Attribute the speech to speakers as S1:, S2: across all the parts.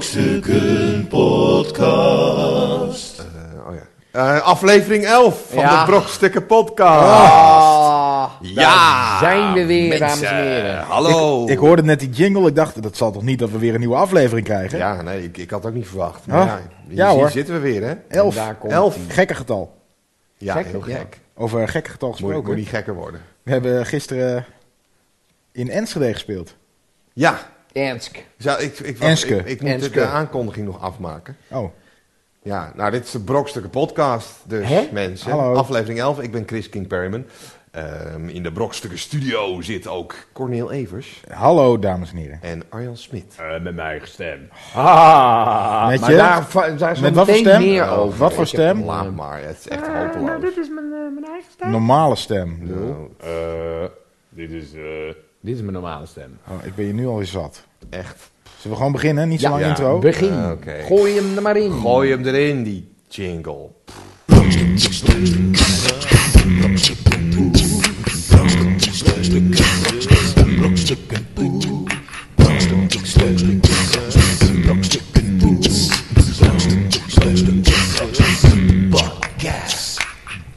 S1: Brokstukken Podcast.
S2: Oh ja. Eh, aflevering 11 van
S3: Ja.
S2: de Brokstukken Podcast.
S3: Ah, daar
S1: Ja,
S3: zijn we weer,
S1: mensen.
S3: dames en heren.
S1: Hallo.
S4: Ik
S3: Oh.
S4: hoorde net die jingle, ik dacht, dat zal toch niet dat we weer een nieuwe aflevering krijgen?
S2: Ja, nee, ik, ik had het ook niet verwacht. Maar
S4: Oh.
S2: ja, hier,
S4: Ja,
S2: hier
S4: hoor.
S2: zitten we weer, hè?
S4: Elf.
S3: En daar komt
S2: Elf.
S3: die.
S4: Gekke getal.
S2: Ja,
S3: Gek,
S2: heel
S3: ja.
S2: gek.
S4: Over gekke getal
S2: Moet,
S4: gesproken.
S2: moet niet gekker worden.
S4: We hebben gisteren in Enschede gespeeld.
S2: Ja,
S3: Ernsk.
S2: zou- ik, ik, ik,
S4: Enske.
S2: ik, ik moet
S3: Enske.
S2: de aankondiging nog afmaken.
S4: Oh,
S2: Ja, nou, dit is de Brokstukken Podcast, dus
S3: Hè?
S2: mensen.
S4: Hallo.
S2: Aflevering 11, ik ben Chris King Perryman. Ehm, in de Brokstukken Studio zit ook Corneel Evers
S4: hallo dames en heren.
S2: en Arjan Smit.
S5: Eh,
S1: met mijn eigen stem.
S3: Ah,
S4: Met
S3: maar
S4: je?
S3: daar, va- daar is
S4: Met
S3: zo
S4: wat voor
S3: meteen
S4: stem?
S3: meer
S4: Oh,
S3: over.
S4: wat voor
S3: Ik heb
S4: stem?
S3: een-
S2: Laat maar, het is echt hopeloos.
S6: is mijn, eh, mijn eigen stem.
S4: Normale stem.
S2: Nou,
S1: dit is. eh,
S3: Dit is mijn normale stem.
S4: Oh, ik ben je nu alweer zat.
S2: echt.
S4: Zullen we gewoon beginnen? Niet zo
S3: Ja.
S4: lang
S2: Ja.
S4: intro.
S3: Begin.
S2: Eh, oké.
S3: Gooi hem er maar in.
S2: Gooi hem erin, die jingle.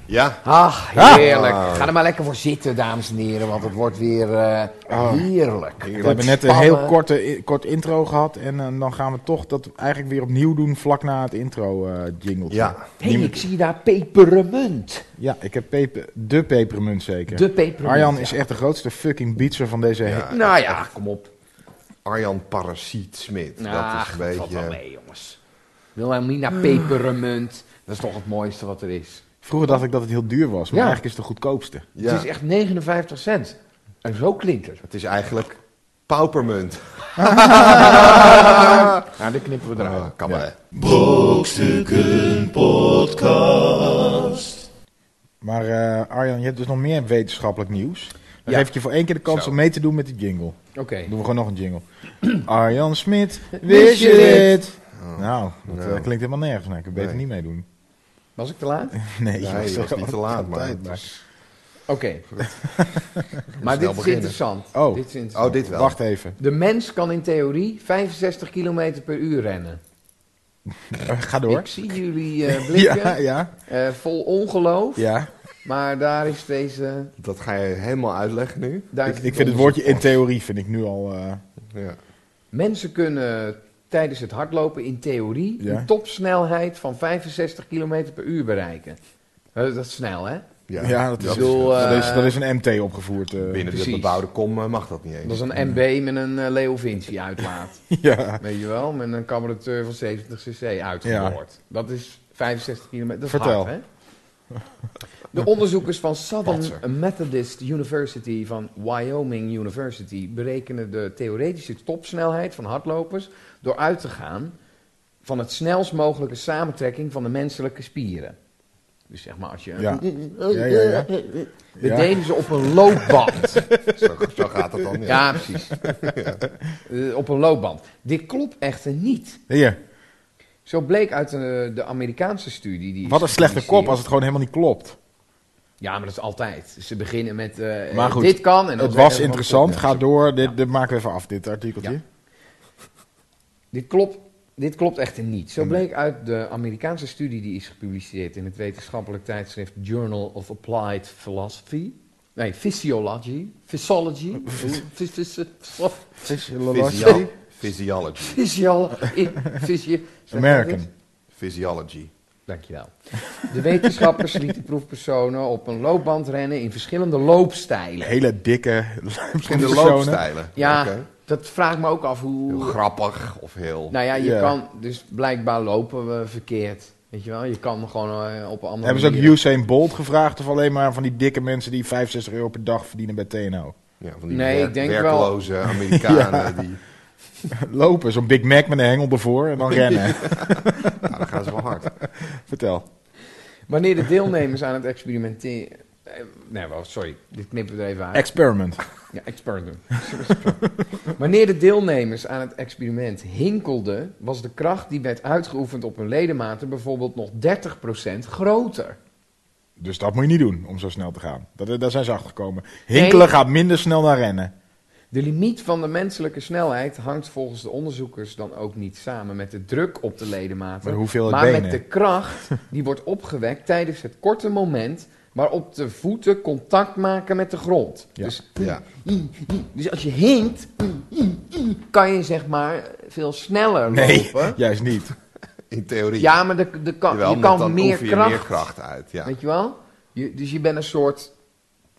S2: Ja,
S3: Ach, Ah,
S2: Ah.
S3: heerlijk. Ga er maar lekker voor zitten, dames en heren, want het wordt weer eh, heerlijk.
S4: Oh. We hebben net een
S3: Ontspannen.
S4: heel korte, i- kort intro gehad en eh, dan gaan we toch dat eigenlijk weer opnieuw doen vlak na het intro eh jingle.
S2: ja.
S3: Hé, hey, ik zie daar pepermunt.
S4: Ja, ik heb peper, de pepermunt zeker.
S3: De pepermunt.
S4: Arjan
S3: ja.
S4: is echt de grootste fucking beatser van deze he-
S3: Nou ja, kom op.
S2: Arjan Parasiet Smit. dat
S3: Ah,
S2: is een
S3: dat valt wel
S2: beetje...
S3: mee, jongens. Wilhelmina
S4: Ah.
S3: pepermunt. Dat is toch het mooiste wat er is.
S4: Vroeger dacht ik dat het heel duur was, maar
S3: Ja.
S4: eigenlijk is het de goedkoopste.
S2: Ja,
S3: Het is echt 59 cent. En zo klinkt het.
S2: het is eigenlijk paupermunt.
S3: Nou, dit knippen we eruit.
S2: Ah, kan maar.
S1: Brokstukken Podcast.
S4: Maar eh, Arjan, je hebt dus nog meer wetenschappelijk nieuws. Dan
S3: Ja.
S4: geef ik je voor één keer de kans
S2: Zo.
S4: om mee te doen met die jingle.
S3: Oké.
S4: Dan doen we gewoon nog een jingle. Arjan Smit, wist je dit? Nou, dat eh,
S2: Nou.
S4: klinkt helemaal nergens. Nee, ik kan beter
S2: Nee.
S4: niet meedoen.
S3: Was ik te laat? Oké.
S4: Nee,
S2: Nee, je was
S4: er
S2: niet te
S4: al
S2: laat, maar...
S4: altijd
S2: het
S4: bij.
S2: is-
S3: maar dit is
S2: beginnen.
S3: interessant.
S4: Oh.
S3: Dit is interessant.
S2: Oh, dit wel.
S4: Wacht even.
S3: De mens kan in theorie 65 km per uur rennen.
S4: Ga door.
S3: Ik zie jullie eh, blikken
S4: Ja, ja,
S3: eh, vol ongeloof.
S4: ja.
S3: Maar daar is deze...
S2: Dat ga je helemaal uitleggen nu.
S3: Daar
S4: Ik,
S3: is
S4: ik vind het woordje in theorie vind ik nu al... eh,
S2: Ja.
S3: Mensen kunnen tijdens het hardlopen in theorie
S4: Ja.
S3: een topsnelheid van 65 km per uur bereiken. Eh, dat is snel, hè?
S4: ja.
S2: Ja.
S4: dat, is,
S3: Ik bedoel,
S4: dat,
S3: eh,
S4: is, dat is een MT opgevoerd. eh.
S2: Binnen de
S3: precies.
S2: bebouwde kom eh, mag dat niet eens.
S3: Dat is een MB met een eh, Leo Vinci uitlaat.
S4: ja.
S3: Weet je wel, met een carburateur van 70 cc uitgehoord. Dat is 65 kilometer. Dat is
S4: Vertel.
S3: hard, hè? De onderzoekers van Southern
S2: Patser.
S3: Methodist University van Wyoming University berekenen de theoretische topsnelheid van hardlopers door uit te gaan van het snelst mogelijke samentrekking van de menselijke spieren. Dus zeg maar als je...
S4: Ja. Ja, ja, ja.
S3: Dit
S4: Ja.
S3: deden ze op een loopband.
S2: Zo, zo gaat dat dan. Ja.
S3: ja, precies. Eh, op een loopband. Dit klopt echter niet.
S4: Hier,
S3: Zo bleek uit eh, de, de Amerikaanse studie. Die is
S4: wat een slechte
S3: gepubliceerd.
S4: kop als het gewoon helemaal niet klopt.
S3: Ja, maar dat is altijd. Ze beginnen met eh,
S4: Maar goed,
S3: dit kan. En dat
S4: Het was
S3: werkt helemaal
S4: interessant.
S3: goed.
S4: Ga door. Dit, dit maken we even af, dit artikeltje.
S3: Ja. Dit klopt, dit klopt echter niet.
S4: Mm.
S3: Zo bleek uit de Amerikaanse studie die is gepubliceerd in het wetenschappelijk tijdschrift Journal of Applied Philosophy. Nee, Physiology. Physiology. Phys- phys- phys-
S2: Physio- Physiology.
S3: Physiolo- i- physi- zeg maar
S4: American.
S3: dit.
S2: Physiology.
S3: Dankjewel. De wetenschappers lieten proefpersonen op een loopband rennen in verschillende loopstijlen.
S4: Hele dikke
S2: Misschien de
S4: personen.
S2: loopstijlen.
S3: Ja,
S2: Oké.
S3: dat vraag ik me ook af
S2: Heel
S3: hoe.
S2: grappig of heel...
S3: Nou ja, je
S4: Ja.
S3: kan dus blijkbaar lopen we verkeerd. Weet je wel, je kan gewoon eh, op een andere
S4: Hebben ze ook
S3: manier.
S4: Usain Bolt gevraagd of alleen maar van die dikke mensen die 65 euro per dag verdienen bij TNO?
S2: Ja, van die
S3: Nee,
S2: werk-
S3: ik denk wel-
S2: werkloze Amerikanen. die,
S4: Lopen, zo'n Big Mac met een hengel ervoor en dan rennen.
S2: nou, dan gaan ze wel hard.
S4: Vertel.
S3: Wanneer de deelnemers aan het experimenteren. eh, Nee, wel, sorry, dit knippen we er even uit.
S4: Experiment.
S3: Ja, experiment. Wanneer de deelnemers aan het experiment hinkelden, was de kracht die werd uitgeoefend op hun ledematen bijvoorbeeld nog 30% groter.
S4: Dus eh, dat moet je niet doen om zo snel te gaan. Dat, daar zijn ze achter gekomen. Hinkelen gaat minder snel dan rennen.
S3: De limiet van de menselijke snelheid hangt volgens de onderzoekers dan ook niet samen met de druk op de
S4: Maar
S3: ledematen,
S4: hoeveel
S3: maar
S4: benen?
S3: met de kracht die wordt opgewekt tijdens het korte moment waarop de voeten contact maken met de grond.
S4: Ja.
S3: Dus,
S2: Ja.
S3: dus als je hinkt, kan je zeg maar veel sneller
S4: Nee,
S3: lopen.
S4: juist niet.
S2: In theorie.
S3: Ja, maar de, de kan,
S2: Jawel,
S3: je
S2: maar
S3: kan
S2: dan
S3: meer,
S2: oefen je
S3: kracht,
S2: meer kracht uit. Ja.
S3: Weet je wel? Je- dus je bent een soort,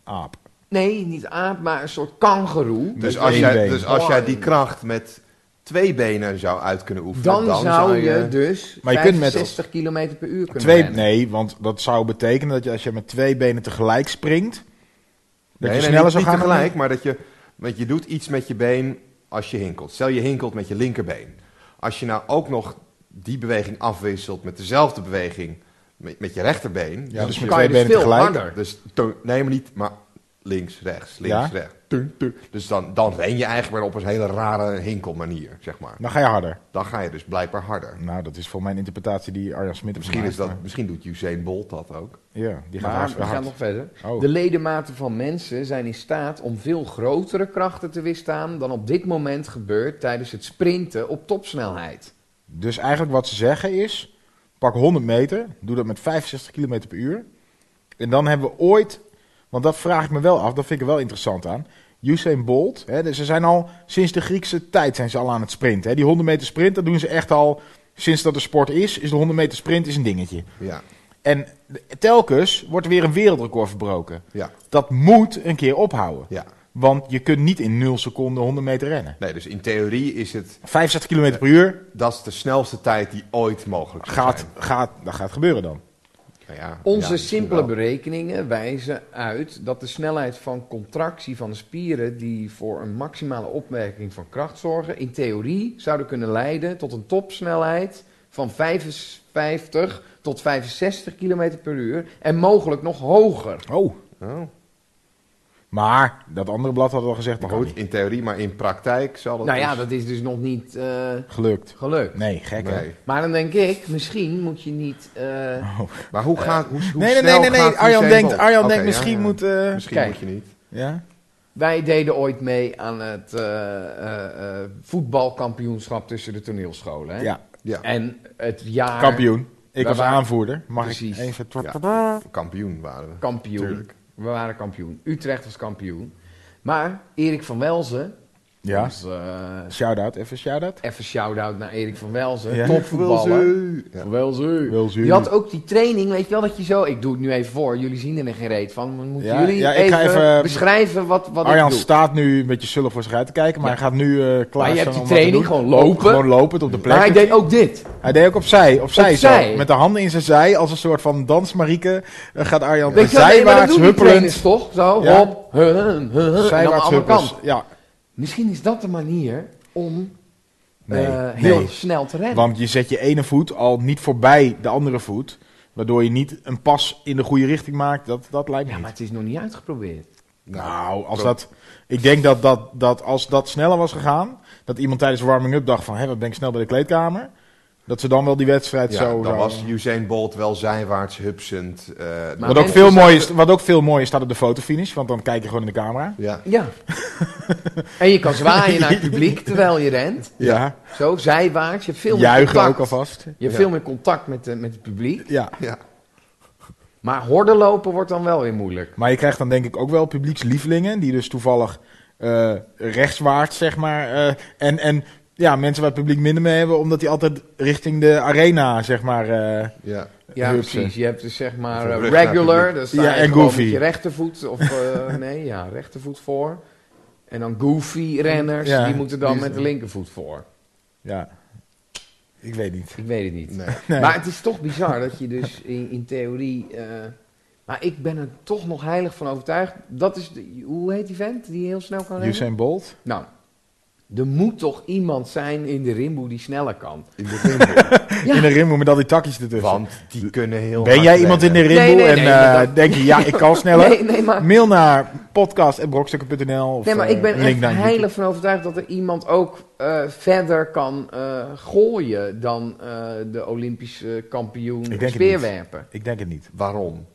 S4: Aap.
S3: nee, niet aap, maar een soort kangeroe.
S2: Dus,
S4: Met
S2: als
S4: één
S2: jij,
S4: been.
S2: dus als jij die kracht met twee benen zou uit kunnen oefenen,
S3: Dan,
S2: dan,
S3: zou je dus
S4: Maar je kunt met-
S3: 65 km per uur kunnen
S4: Twee,
S3: rennen.
S4: nee, want dat zou betekenen dat je als je met twee benen tegelijk springt, dat
S2: Nee,
S4: je
S2: nee,
S4: sneller
S2: niet,
S4: zou
S2: niet
S4: gaan. dan-
S2: tegelijk, maar dat je, want je doet iets met je been als je hinkelt. Stel je hinkelt met je linkerbeen. Als je nou ook nog die beweging afwisselt met dezelfde beweging met, met je rechterbeen.
S4: Ja, dus
S3: Dan
S4: met
S3: kan
S4: twee
S3: je dus
S4: benen
S3: veel
S4: tegelijk.
S3: harder.
S2: Dus tu- nee, maar niet, maar links, rechts, links,
S4: Ja?
S2: rechts. Tu- tu. Dus dan, dan ren je eigenlijk maar op een hele rare hinkelmanier, zeg maar.
S4: Dan ga je harder.
S2: Dan ga je dus blijkbaar harder.
S4: Nou, dat is voor mijn interpretatie die Arjan Smit heeft
S2: Misschien, is
S4: gemaakt,
S2: dat, misschien doet Usain Bolt dat ook.
S4: maar- Ja,
S3: Maar
S4: die gaat
S3: we
S4: hartstikke
S3: gaan
S4: hard.
S3: nog verder.
S4: Oh.
S3: De ledematen van mensen zijn in staat om veel grotere krachten te weerstaan dan op dit moment gebeurt tijdens het sprinten op topsnelheid.
S4: Dus eigenlijk wat ze zeggen is, pak 100 meter, doe dat met 65 km per uur. En dan hebben we ooit, want dat vraag ik me wel af, dat vind ik er wel interessant aan. Usain Bolt, hè, dus ze zijn al sinds de Griekse tijd zijn ze al aan het sprinten. Hè. Die 100 meter sprint, dat doen ze echt al sinds dat er sport is. Is de 100 meter sprint is een dingetje.
S2: Ja,
S4: En telkens wordt er weer een wereldrecord verbroken.
S2: ja,
S4: Dat moet een keer ophouden.
S2: ja.
S4: Want je kunt niet in 0 seconden 100 meter rennen.
S2: Nee, dus in theorie is het
S4: 65 km per uur
S2: Dat is de snelste tijd die ooit mogelijk zou
S4: gaat,
S2: zijn.
S4: gaat, dat gaat gebeuren dan.
S2: Nou ja,
S3: Onze
S2: ja, misschien
S3: simpele
S2: wel.
S3: berekeningen wijzen uit dat de snelheid van contractie van de spieren die voor een maximale opwerking van kracht zorgen, in theorie zouden kunnen leiden tot een topsnelheid van 55 tot 65 km per uur en mogelijk nog hoger.
S4: Oh.
S2: Oh,
S4: Maar dat andere blad had al gezegd,
S2: maar
S4: dat kan
S2: goed,
S4: niet.
S2: in theorie, maar in praktijk zal dat
S3: nou ja,
S2: dus-
S3: dat is dus nog niet eh,
S4: Gelukt.
S3: gelukt.
S4: Nee, gek hè?
S2: Nee.
S3: Maar dan denk ik, misschien moet je niet. eh,
S4: Oh.
S2: Maar hoe gaat... Hoe, hoe
S4: Nee, nee, nee,
S2: snel
S4: nee, nee.
S2: gaat
S4: Arjan
S2: Usain
S4: denkt,
S2: Bolt?
S4: Arjan
S2: Oké,
S4: denkt
S2: ja, ja.
S4: misschien moet... eh,
S2: Misschien
S3: Kijk.
S2: moet je niet.
S4: ja?
S3: wij deden ooit mee aan het eh, eh, eh, voetbalkampioenschap tussen de toneelscholen. Hè?
S4: ja,
S2: Ja,
S3: En het jaar.
S4: kampioen. Ik
S3: Wij
S4: was
S3: waren-
S4: aanvoerder. Mag
S3: Precies.
S4: ik even...
S2: kampioen waren we.
S3: Kampioen.
S2: Tuurlijk.
S3: We waren kampioen. Utrecht was kampioen. Maar Erik van Welzen.
S4: Ja,
S3: Dus, eh,
S4: shout-out. Even shout-out.
S3: even shout-out naar Erik van Welzen.
S4: Ja.
S3: Topvoetballer.
S2: Ja.
S3: Van Welzen.
S4: Wel zuur.
S3: Die had ook die training, weet je wel, dat je zo... Ik doe het nu even voor, jullie zien er geen reet van. maar Moeten
S4: Ja,
S3: jullie
S4: ja, ik
S3: even,
S4: ga even- um,
S3: beschrijven wat, wat ik
S4: Arjan
S3: doe?
S4: staat nu een beetje zullen voor zich uit te kijken, maar
S3: Ja.
S4: hij gaat nu eh klaar
S3: Maar je hebt
S4: om
S3: die
S4: wat te
S3: training
S4: doen.
S3: gewoon lopen.
S4: Gewoon lopend op de plek.
S3: Maar hij deed ook dit.
S4: Hij deed ook opzij, opzij,
S3: Opzij.
S4: zo. Met de handen in zijn zij, als een soort van dansmarieke, eh, gaat Arjan
S3: Weet je wel, nee, maar dat
S4: zijwaarts
S3: doen die
S4: huppelend.
S3: trainers toch? Zo,
S4: Ja.
S3: hop, huh, huh, huh, huh, en dan de
S4: Zijwaarts
S3: andere
S4: huppels.
S3: kant.
S4: Ja,
S3: Misschien is dat de manier om
S4: Nee,
S3: eh, heel
S4: nee.
S3: snel te rennen.
S4: want je zet je ene voet al niet voorbij de andere voet, waardoor je niet een pas in de goede richting maakt. Dat, dat lijkt me
S3: ja,
S4: niet.
S3: maar het is nog niet uitgeprobeerd.
S4: Nou, als
S2: zo-
S4: dat, ik denk dat, dat, dat als dat sneller was gegaan, dat iemand tijdens de warming-up dacht van, hé, wat ben ik snel bij de kleedkamer. Dat ze dan wel die wedstrijd
S2: Ja,
S4: zo...
S2: dan
S4: zo-
S2: was Usain Bolt wel zijwaarts, hupsend. eh,
S3: Maar-
S4: Wat ook,
S3: mensen
S4: veel mooi is,
S3: zouden-
S4: wat ook veel mooier is, staat op de fotofinish, want dan kijk je gewoon in de camera.
S2: ja.
S3: Ja. en je kan zwaaien naar het publiek terwijl je rent.
S4: Ja,
S3: Zo, zijwaarts. Je hebt veel meer
S4: juichen
S3: contact.
S4: ook alvast.
S3: Je hebt
S2: Ja.
S3: veel meer contact met, eh, met het publiek.
S4: Ja,
S2: ja.
S3: Maar horden lopen wordt dan wel weer moeilijk.
S4: maar je krijgt dan denk ik ook wel publiekslievelingen, die dus toevallig eh, rechtswaarts, zeg maar, eh, en, en ja, mensen waar het publiek minder mee hebben, omdat die altijd richting de arena, zeg maar, eh,
S2: ja.
S3: Ja,
S4: Hupsen.
S3: precies. Je hebt dus zeg maar
S2: Even
S3: eh,
S2: rug naar het
S3: regular.
S2: publiek.
S3: Dan sta
S4: Ja,
S3: je
S4: en
S3: gewoon
S4: goofy.
S3: met je rechtervoet. Of eh, nee, ja, rechtervoet voor. En dan goofy renners.
S4: Ja,
S3: die moeten dan
S4: die is-
S3: met de linkervoet voor.
S4: ja, ik weet niet.
S3: Ik weet het niet.
S2: Nee.
S4: Nee.
S3: Maar het is toch bizar dat je dus in, in theorie... eh, maar ik ben er toch nog heilig van overtuigd. Dat is de, hoe heet die vent die heel snel kan rennen?
S4: Usain Bolt?
S3: Nou, er moet toch iemand zijn in de rimboe die sneller kan.
S2: In de rimboe.
S3: Ja.
S4: In een rimboel met al die takjes ertussen.
S2: Want die kunnen heel
S4: ben
S2: hard
S4: jij iemand in
S2: rennen.
S4: de rimboel
S3: Nee, nee,
S4: en
S3: nee,
S4: eh,
S3: maar dat-
S4: denk je, ja, ik kan sneller?
S3: Nee, nee, maar,
S4: Mail naar podcast.brokstukken.nl of
S3: nee, maar
S4: eh,
S3: ik ben
S4: link
S3: echt
S4: naar YouTube.
S3: heilig van overtuigd dat er iemand ook eh, verder kan eh, gooien dan eh, de Olympische kampioen
S4: denk het
S3: speerwerpen.
S4: Ik denk het niet.
S2: Waarom?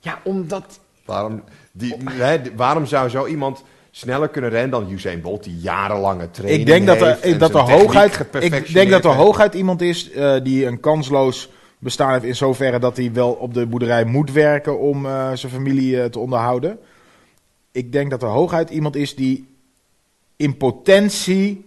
S3: Ja, omdat...
S2: Waarom, die, hè, die- waarom zou zo iemand sneller kunnen rennen dan Usain Bolt, die jarenlange training
S4: Ik denk dat
S2: heeft
S4: er,
S2: en
S4: dat de
S2: zijn techniek
S4: hoogheid, ik
S2: geperfectioneerd
S4: denk dat de
S2: heeft.
S4: hoogheid iemand is eh, die een kansloos bestaan heeft in zoverre dat hij wel op de boerderij moet werken om eh, zijn familie eh, te onderhouden. Ik denk dat de hoogheid iemand is die in potentie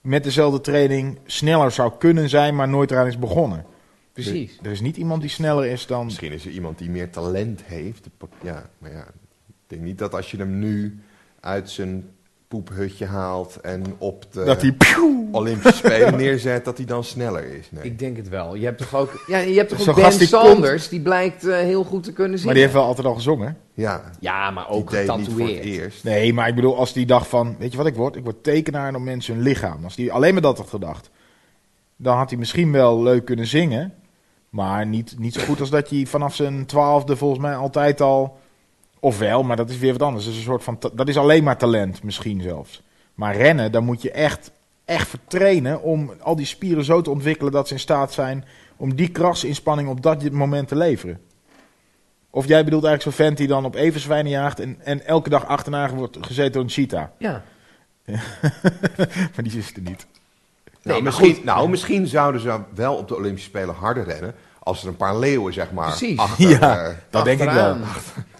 S4: met dezelfde training sneller zou kunnen zijn, maar nooit eraan is begonnen.
S3: Precies.
S4: Er is niet iemand die sneller is dan.
S2: Misschien is er iemand die meer talent heeft. Ja, maar ja, ik denk niet dat als je hem nu uit zijn poephutje haalt en op de
S4: Dat hij. Pjoe,
S2: Olympische Spelen neerzet, dat hij dan sneller is. Nee.
S3: Ik denk het wel. Je hebt toch ook, ja, je hebt toch
S4: Zo'n
S3: ook Ben
S4: gast die
S3: Sanders, die blijkt eh, heel goed te kunnen zien.
S4: maar die heeft wel altijd al gezongen.
S2: ja,
S3: Ja, maar
S2: die
S3: ook
S2: deed niet voor het
S3: getatoeëerd.
S2: eerst.
S4: Nee, maar ik bedoel, als die dacht van, weet je wat ik word? Ik word tekenaar en op mensen hun lichaam. Als die alleen maar dat had gedacht, dan had hij misschien wel leuk kunnen zingen. Maar niet, niet zo goed als dat hij vanaf zijn twaalfde volgens mij altijd al... Of wel, maar dat is weer wat anders. Dat is, een soort van ta- dat is alleen maar talent misschien zelfs. Maar rennen, daar moet je echt, echt vertrainen om al die spieren zo te ontwikkelen dat ze in staat zijn om die krachtsinspanning op dat moment te leveren. Of jij bedoelt eigenlijk zo'n vent die dan op everzwijnen jaagt en, en elke dag achterna wordt gezeten door een cheetah.
S3: Ja.
S4: Maar die is er niet.
S2: Nou,
S3: maar
S2: misschien, nou, misschien zouden ze wel op de Olympische Spelen harder rennen als er een paar leeuwen, zeg maar,
S3: Precies.
S2: achter...
S4: Ja.
S2: eh,
S4: Dat denk ik
S3: Achteraan.
S4: wel.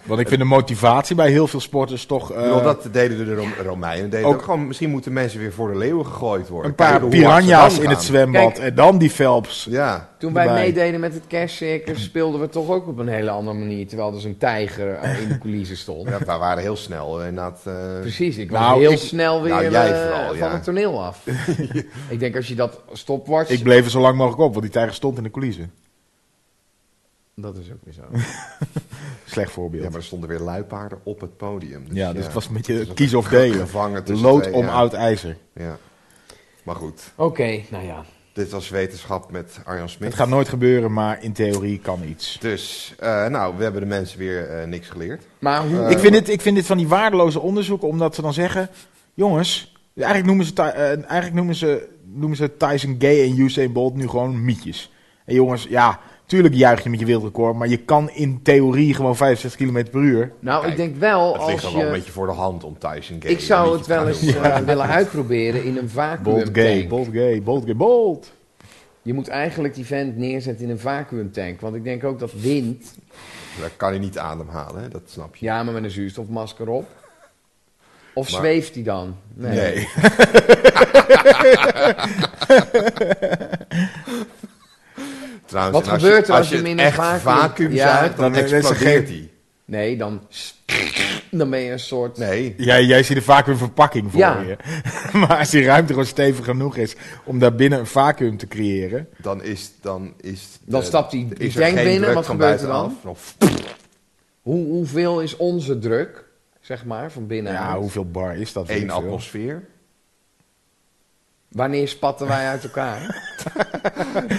S4: Want ik vind de motivatie bij heel veel sporters toch... eh,
S2: ik bedoel, dat deden de Rom- Romeinen. Deden
S4: ook-
S2: ook, gewoon, misschien moeten mensen weer voor de leeuwen gegooid worden.
S4: een paar
S2: Kijken hoe hard ze dan
S4: piranha's in
S2: gaan.
S4: het zwembad
S3: Kijk.
S4: en dan die Phelps.
S2: Ja.
S3: Toen wij
S4: Erbij.
S3: meededen met het kerstcircus speelden we toch ook op een hele andere manier. Terwijl er zo'n tijger eh, in de coulissen stond.
S2: Ja, wij waren heel snel. eh, Inderdaad, eh,
S3: Precies, ik was
S4: Nou,
S3: heel
S4: ik-
S3: snel weer
S2: nou, jij
S3: eh,
S2: vooral,
S3: van
S2: ja.
S3: het toneel af. ik denk als je dat stopwatch...
S4: Ik bleef er zo lang mogelijk op, want die tijger stond in de coulissen.
S3: Dat is ook weer zo.
S4: Slecht
S2: ja,
S4: voorbeeld. Ja,
S2: maar er stonden weer luipaarden op het podium. Dus,
S4: dus het was een
S2: Het
S4: beetje
S2: was
S4: kiezen of
S2: ge-
S4: delen.
S2: Gevangen tussen
S4: Lood
S2: twee,
S4: om
S2: ja.
S4: oud ijzer.
S2: Ja. Maar goed,
S3: Oké, nou ja.
S2: dit was wetenschap met Arjan Smit.
S4: Het gaat nooit gebeuren, maar in theorie kan iets.
S2: Dus, eh, nou, we hebben de mensen weer eh, niks geleerd.
S3: Maar
S2: Eh,
S3: hoe...
S4: ik, vind dit, ik vind dit van die waardeloze onderzoeken, omdat ze dan zeggen... Jongens, eigenlijk noemen ze, Ty- eh, eigenlijk noemen ze, noemen ze Tyson Gay en Usain Bolt nu gewoon mietjes. En jongens, ja, tuurlijk juich je met je wereldrecord... maar je kan in theorie gewoon 65 km per uur.
S3: nou,
S2: kijk,
S3: ik denk wel
S2: Het ligt
S3: als
S2: dan wel een
S3: je...
S2: beetje voor de hand om Tyson Gay.
S3: Ik
S2: een beetje
S3: zou het
S2: te gaan
S3: wel eens
S2: doen.
S3: eh, willen uitproberen in een
S4: Bolt Gay,
S3: vacuümtank.
S4: Bolt Gay, Bolt Gay, Bolt.
S3: Je moet eigenlijk die vent neerzetten in een vacuümtank. Want ik denk ook dat wind... eh,
S2: Daar kan hij niet ademhalen, hè? dat snap je.
S3: Ja, maar met een zuurstofmasker op. Of
S2: Maar-
S3: zweeft hij dan?
S2: Nee. Trouwens,
S3: Wat
S2: en als
S3: gebeurt
S2: je,
S3: er als je
S2: het
S3: hem in een
S2: echt
S3: vacuüm-
S2: vacuüm
S3: Ja.
S2: zuigt, dan,
S4: Dan is het
S2: explodeert
S4: geen-
S2: hij.
S3: Nee, dan... Dan ben je een soort...
S2: Nee,
S4: Jij, jij ziet er vaak weer verpakking voor
S3: Ja.
S4: je. maar als die ruimte gewoon stevig genoeg is... om daar binnen een vacuüm te creëren...
S2: dan is... Dan, is
S3: Dan
S2: eh,
S3: stapt die
S2: is er
S3: tank
S2: geen
S3: binnen,
S2: druk
S3: wat
S2: van
S3: gebeurt er
S2: buitenaf.
S3: Hoe, hoeveel is onze druk, zeg maar, van binnenuit?
S4: ja, hoeveel bar is dat?
S2: Eén
S4: Weet ik veel.
S2: atmosfeer.
S3: Wanneer spatten wij uit elkaar?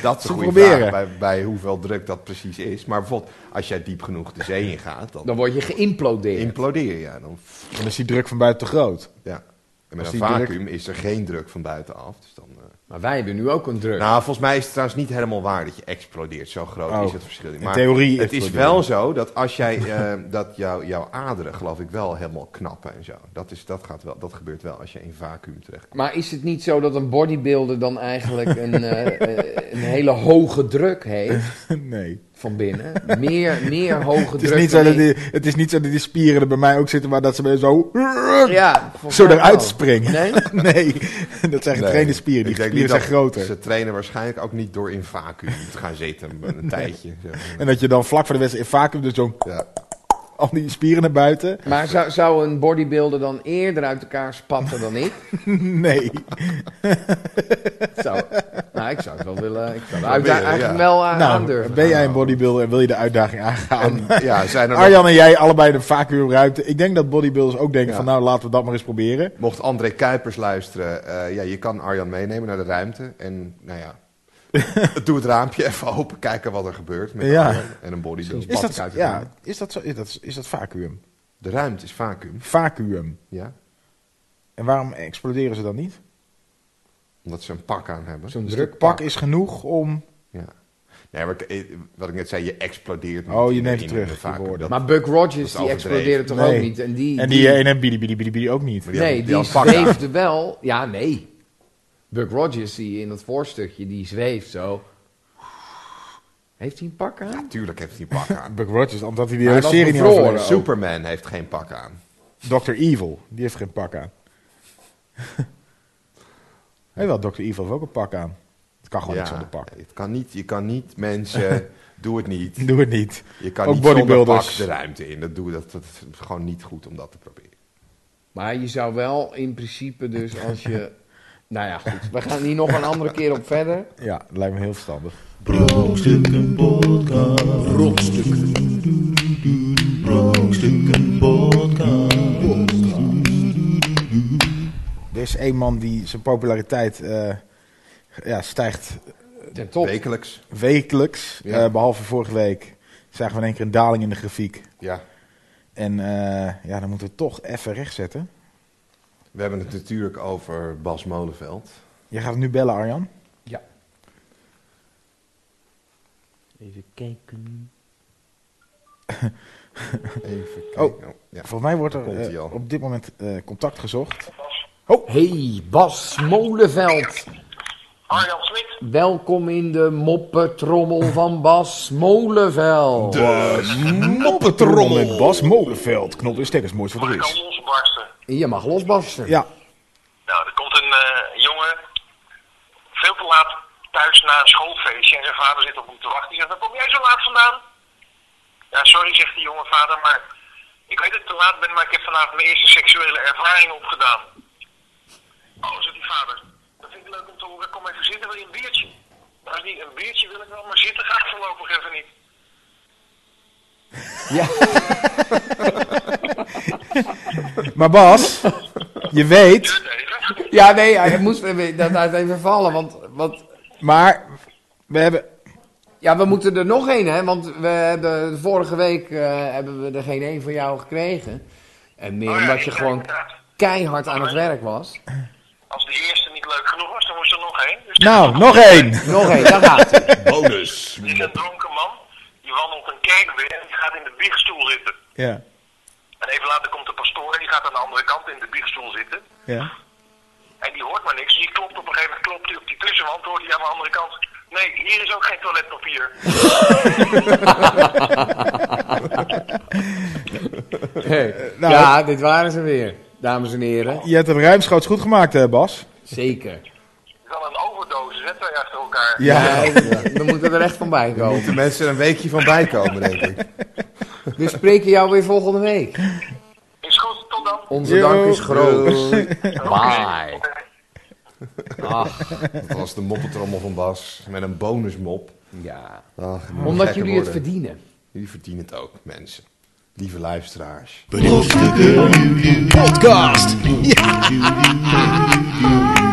S2: Dat is
S4: Te
S2: een goede
S4: proberen.
S2: vraag bij, bij hoeveel druk dat precies is. Maar bijvoorbeeld, als jij diep genoeg de zee ingaat, dan,
S3: Dan word je geïmplodeerd.
S2: implodeer je. Dan,
S4: Dan is die druk van buiten te groot.
S2: ja. En
S4: Als
S2: met een
S4: die
S2: vacuüm is er geen druk van buitenaf. Dus dan, eh.
S3: maar wij hebben nu ook een druk.
S2: Nou, volgens mij is het trouwens niet helemaal waar dat je explodeert. Zo groot
S4: Oh.
S2: is het verschil. niet.
S4: In
S2: Maar
S4: theorie
S2: het is
S4: exploderen.
S2: wel zo dat als jij eh, dat jouw jouw aderen, geloof ik, wel helemaal knappen en zo. Dat, is, dat, gaat wel, dat gebeurt wel als je in vacuüm terechtkomt.
S3: maar is het niet zo dat een bodybuilder dan eigenlijk een, eh, eh, een hele hoge druk heeft
S4: nee.
S3: van binnen? Meer, meer hoge
S4: Het
S3: druk.
S4: is, niet
S3: dan
S4: zo dat
S3: ik.
S4: die, het is niet zo dat die spieren er bij mij ook zitten, maar dat ze bij zo...
S3: Ja, volgens
S4: Zo
S3: mij
S4: eruit
S3: wel.
S4: springen.
S3: Nee?
S4: Nee, dat zijn getrainde
S2: Nee,
S4: spieren. Die
S2: ik denk
S4: spieren
S2: niet
S4: zijn
S2: dat-
S4: groter.
S2: Ze trainen waarschijnlijk ook niet door in vacuüm te gaan zitten een tijdje. Zo.
S4: En dat je dan vlak voor de wedstrijd in vacuüm dus zo
S2: Ja.
S4: al die spieren naar buiten.
S3: Maar zou, zou een bodybuilder dan eerder uit elkaar spatten dan ik?
S4: Nee.
S3: Zou, nou, ik zou het wel willen. Ik zou
S2: willen,
S3: de uitdaging eigenlijk
S2: ja.
S3: wel aan,
S4: nou,
S3: aandurven.
S4: ben jij een bodybuilder en wil je de uitdaging aangaan?
S2: En, ja, zijn er nog,
S4: Arjan en jij allebei de vacuümruimte. Ik denk dat bodybuilders ook denken
S2: Ja.
S4: van nou, laten we dat maar eens proberen.
S2: mocht André Kuipers luisteren, eh, ja, je kan Arjan meenemen naar de ruimte. En nou ja, doe het raampje even open, kijken wat er gebeurt met
S4: Ja.
S2: Arjan en een bodybuilder.
S4: Is
S3: Bad
S4: dat,
S3: kuiten
S4: ja, is dat, zo, is dat, is dat vacuüm?
S2: De ruimte is vacuüm,
S4: Vacuüm.
S2: ja,
S4: En waarom exploderen ze dan niet?
S2: omdat ze een pak aan hebben.
S3: Zo'n
S4: Dus
S3: druk
S4: dat pak is genoeg om...
S2: Ja. Nee, maar ik- eh, wat ik net zei, je explodeert.
S4: Oh, je
S2: in-
S4: neemt
S2: in-
S4: terug,
S2: in-
S4: je
S2: vaak.
S4: woorden.
S2: Dat-
S3: maar Buck
S2: dat
S3: Rogers, die
S2: overdreven.
S3: explodeerde toch
S4: Nee.
S3: ook niet? En die,
S4: En die eh, ene bili bili bili bili ook niet.
S2: maar
S3: nee,
S2: had-
S3: die,
S2: had pak aan.
S3: zweefde wel. Ja, nee. Buck Rogers, die in dat voorstukje, die zweeft zo. Heeft hij een pak aan?
S2: Tuurlijk heeft hij een pak aan.
S4: Buck Rogers, omdat hij die
S3: Maar
S4: hele
S3: hij
S4: serie
S3: was
S4: niet
S3: bevroren.
S4: overleefd. Super.
S2: Superman heeft geen pak aan.
S4: Dr. Evil, die heeft geen pak aan. Hij wel, Dr. Evil heeft ook een pak aan. Het kan gewoon niet zonder pak.
S2: Het kan niet, je kan niet mensen, doe het niet.
S4: Doe het niet.
S2: Je kan
S4: Ook
S2: niet zonder pak
S4: bodybuilders.
S2: de ruimte in. Dat, doe, dat, dat is gewoon niet goed om dat te proberen.
S3: Maar je zou wel in principe dus als je... nou ja, goed. We gaan hier nog een andere keer op verder.
S4: Ja, dat lijkt me heel verstandig.
S1: Brokstukken podcast. Brokstukken podcast.
S4: Er is één man die zijn populariteit eh, ja, stijgt
S3: Ten top.
S2: Wekelijks.
S4: wekelijks.
S3: Ja.
S4: Eh, behalve vorige week zagen we in één keer een daling in de grafiek.
S2: Ja.
S4: En eh, ja, dan moeten we het toch even rechtzetten.
S2: We hebben het natuurlijk over Bas Molenveld.
S4: Jij gaat nu bellen, Arjan.
S3: Ja.
S6: Even kijken.
S2: Even kijken. Oh, ja.
S4: Volgens mij wordt er
S2: Daar komt
S4: eh,
S2: hij al.
S4: op dit moment eh, contact gezocht.
S3: Hey, Bas Molenveld.
S7: Arjan Smit.
S3: Welkom in de moppetrommel van Bas Molenveld.
S4: Moppetrommel met Bas Molenveld. Knop en stekkers, moois wat
S7: Mag
S4: er
S7: ik al
S4: is.
S7: losbarsten?
S3: Je mag losbarsten.
S4: Ja,
S7: Nou, er komt een eh, jongen veel te laat thuis na een schoolfeestje en zijn vader zit op hem te wachten. Die zegt, waar kom jij zo laat vandaan? Ja, sorry, zegt die jonge vader, maar ik weet dat ik te laat ben, maar ik heb vanavond mijn eerste seksuele ervaring opgedaan. Oh, zegt die vader, dat vind ik leuk om te horen. Kom even zitten, wil je een biertje? Als die een biertje wil ik wel, maar zitten gaat voorlopig even niet.
S3: Ja.
S4: maar Bas, je weet,
S7: Duurt even.
S3: Ja, nee, hij moest even- dat laat even vallen. Want, want
S4: maar we hebben...
S3: ja, we moeten er nog één, hè? Want we hebben, vorige week eh, hebben we er geen één van jou gekregen. En meer
S7: Oh ja,
S3: omdat je
S7: ik-
S3: gewoon
S7: inderdaad.
S3: keihard aan het werk was.
S7: Als die eerste niet leuk genoeg was, dan moest er nog heen. Dus
S4: Nou, nog één.
S3: Nog één, daar gaat hij.
S1: Bonus.
S7: Er is een dronken man, die wandelt een kerk binnen en die gaat in de biechtstoel zitten.
S4: Ja,
S7: En even later komt de pastoor en die gaat aan de andere kant in de biechtstoel zitten.
S4: ja.
S7: En die hoort maar niks, dus die klopt op een gegeven moment klopt hij op die tussenwand, hoort hij aan de andere kant. Nee, hier is ook geen toiletpapier.
S4: nou,
S3: ja, dit waren ze weer, dames en heren.
S4: Je hebt het ruimschoots goed gemaakt, hè, Bas.
S3: Zeker.
S7: Het is wel een overdosis, hè, twee achter elkaar.
S4: Ja.
S3: Ja, we moeten er echt van bij komen.
S2: Moeten mensen er een weekje van bijkomen, denk ik.
S3: We spreken jou weer volgende week.
S7: Is goed, tot dan.
S3: Onze
S4: Yo.
S3: dank is groot. Bye.
S7: Oké.
S3: Ach,
S2: Dat was de moppetrommel van Bas. Met een bonusmop.
S3: ja.
S2: Ach,
S3: Omdat
S2: gekke
S3: jullie het
S2: woorden.
S3: verdienen.
S2: Jullie verdienen het ook, mensen. Lieve luisteraars.
S1: Brokstukken podcast.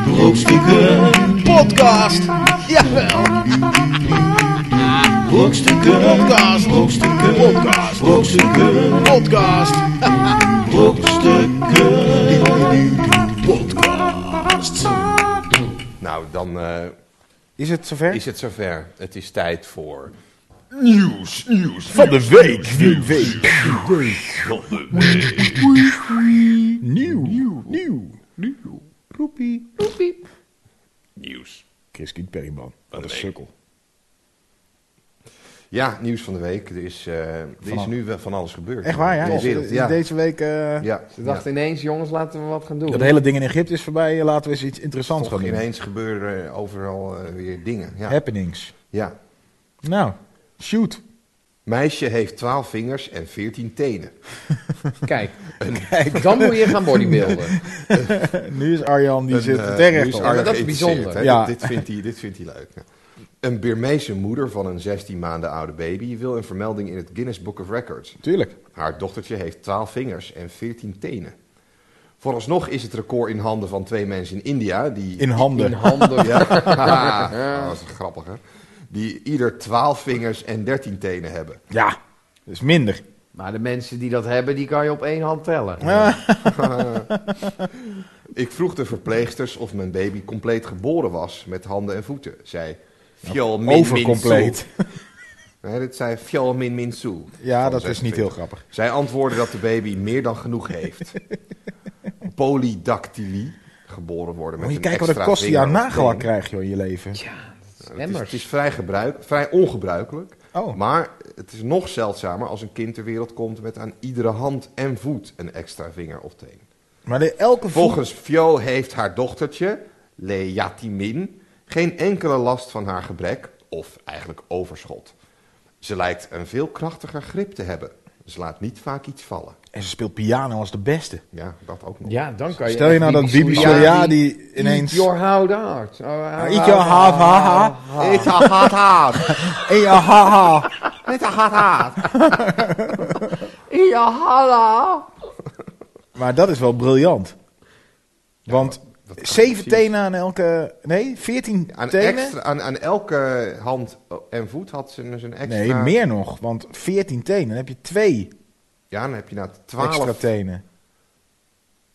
S1: Brokstukken podcast. Jawel. Brokstukken podcast. Brokstukken podcast. Brokstukken podcast. Brokstukken podcast.
S2: Nou, dan eh,
S4: Is het zover?
S2: is het zover. Het is tijd voor... Nieuws, nieuws.
S4: Van de week. Nieuw. Week. Nieuw. Nieuw. Nieuw. Nieuw. Roepie.
S1: Nieuws.
S4: Chris Kiet Perryman. Wat een sukkel.
S2: Ja, nieuws van de week. Er is, eh, er is nu wel van alles gebeurd.
S4: Echt waar, ja?
S2: In de
S4: Is-
S2: wereld,
S4: is
S2: ja.
S4: Deze week... eh,
S2: Ja,
S3: Ze dachten ineens, jongens, laten we wat gaan doen.
S4: Dat hele ding in Egypte is voorbij. eh, Laten we eens iets interessants
S2: Toch
S4: gaan doen.
S2: ineens gebeuren eh, overal eh, weer dingen. Ja.
S4: Happenings.
S2: ja.
S4: Nou, shoot.
S2: Meisje heeft 12 vingers en 14 tenen.
S3: Kijk, dan moet je gaan bodybuilden.
S4: Nu is Arjan, die
S2: Een,
S4: zit
S2: eh,
S4: er
S2: nu
S4: terecht
S2: is
S4: op.
S2: Arjan
S3: Ja, maar dat is
S2: geïnteresseerd,
S3: bijzonder.
S2: hè.
S4: Ja.
S2: Dit, dit vindt hij, dit vindt hij leuk. ja. Een Birmeese moeder van een 16 maanden oude baby wil een vermelding in het Guinness Book of Records.
S4: Tuurlijk.
S2: Haar dochtertje heeft 12 vingers en 14 tenen. Vooralsnog is het record in handen van twee mensen in India die
S4: In handen.
S3: In handen.
S2: Ja, haha. dat was grappig, hè? Die ieder 12 vingers en 13 tenen hebben.
S4: Ja, dat is minder.
S3: Maar de mensen die dat hebben, die kan je op één hand tellen.
S2: Ik vroeg de verpleegsters of mijn baby compleet geboren was met handen en voeten. Zij, Fjol min min
S4: Overcompleet.
S2: soe. Nee, dit zei fjol min min soe.
S4: Ja,
S2: Van
S4: dat is niet
S2: 26.
S4: heel grappig.
S2: Zij antwoordde dat de baby meer dan genoeg heeft. Polydactylie. Geboren worden met
S4: Moet je
S2: een
S4: kijken wat het
S2: extra
S4: kost die aan
S2: vinger of
S4: nagelak
S2: been.
S4: krijg je in je leven.
S3: Ja, dat is
S2: Het is, het
S3: emmers.
S2: is vrij, gebruik, vrij ongebruikelijk.
S4: Oh.
S2: Maar het is nog zeldzamer als een kind ter wereld komt met aan iedere hand en voet een extra vinger of teen.
S4: Maar de, elke
S2: Volgens Fio heeft haar dochtertje, Leatimin, geen enkele last van haar gebrek, of eigenlijk overschot. Ze lijkt een veel krachtiger grip te hebben. Ze laat niet vaak iets vallen.
S4: En ze speelt piano als de beste.
S2: Ja, dat ook nog.
S3: Ja, dan kan je
S4: Stel je
S3: echt
S4: nou dat Bibi
S3: Soriani-
S4: Soriani ineens- Ah,
S3: Eat your heart out. Oh, oh,
S4: eat your
S3: oh,
S4: heart
S3: oh,
S4: out.
S3: oh, oh.
S2: Eta haat haat.
S4: Ja, haha.
S2: Eta haat haat.
S3: Ja, hallo.
S4: Maar dat is wel briljant. Want
S2: dat kan
S4: zeven
S2: precies.
S4: tenen aan elke... Nee, veertien
S2: Aan,
S4: tenen?
S2: extra, aan, aan elke hand en voet had ze dus een extra...
S4: nee, meer nog. Want veertien tenen, dan heb je twee
S2: Ja, dan heb je na twaalf...
S4: extra tenen.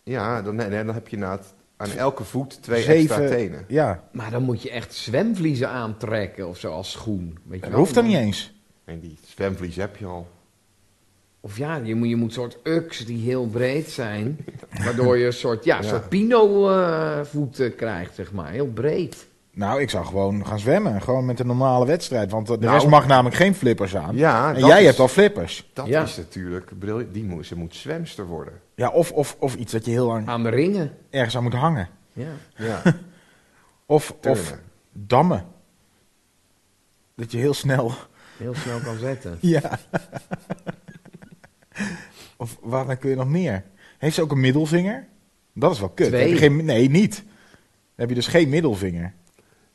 S2: Ja, dan, nee, nee, dan heb je na het- aan elke voet twee extra tenen.
S4: Ja,
S3: Maar dan moet je echt zwemvliezen aantrekken of zo als schoen. Weet je
S4: dat
S3: wel?
S4: hoeft dan niet eens.
S2: En die zwemvlies heb je al.
S3: Of ja, je moet, je moet soort uks die heel breed zijn. waardoor je een soort, ja, soort pino eh, voeten krijgt, zeg maar. Heel breed.
S4: Nou, ik zou gewoon gaan zwemmen. Gewoon met een normale wedstrijd. Want eh, de
S2: Nou.
S4: rest mag namelijk geen flippers aan.
S2: Ja,
S4: en
S2: dat
S4: jij
S2: is-
S4: hebt al flippers.
S2: Dat
S3: Ja.
S2: is natuurlijk briljant. Die moet, ze moet zwemster worden.
S4: Ja, of, of, of iets dat je heel lang
S3: Aan de ringen.
S4: ergens aan moet hangen.
S3: Ja.
S2: Ja.
S4: Of, of
S2: Turnen.
S4: dammen. Dat je heel snel...
S3: Heel snel kan zetten.
S4: Ja. of waar dan kun je nog meer? Heeft ze ook een middelvinger? Dat is wel kut.
S3: Twee.
S4: Heb je geen, nee, niet. Dan heb je dus geen middelvinger.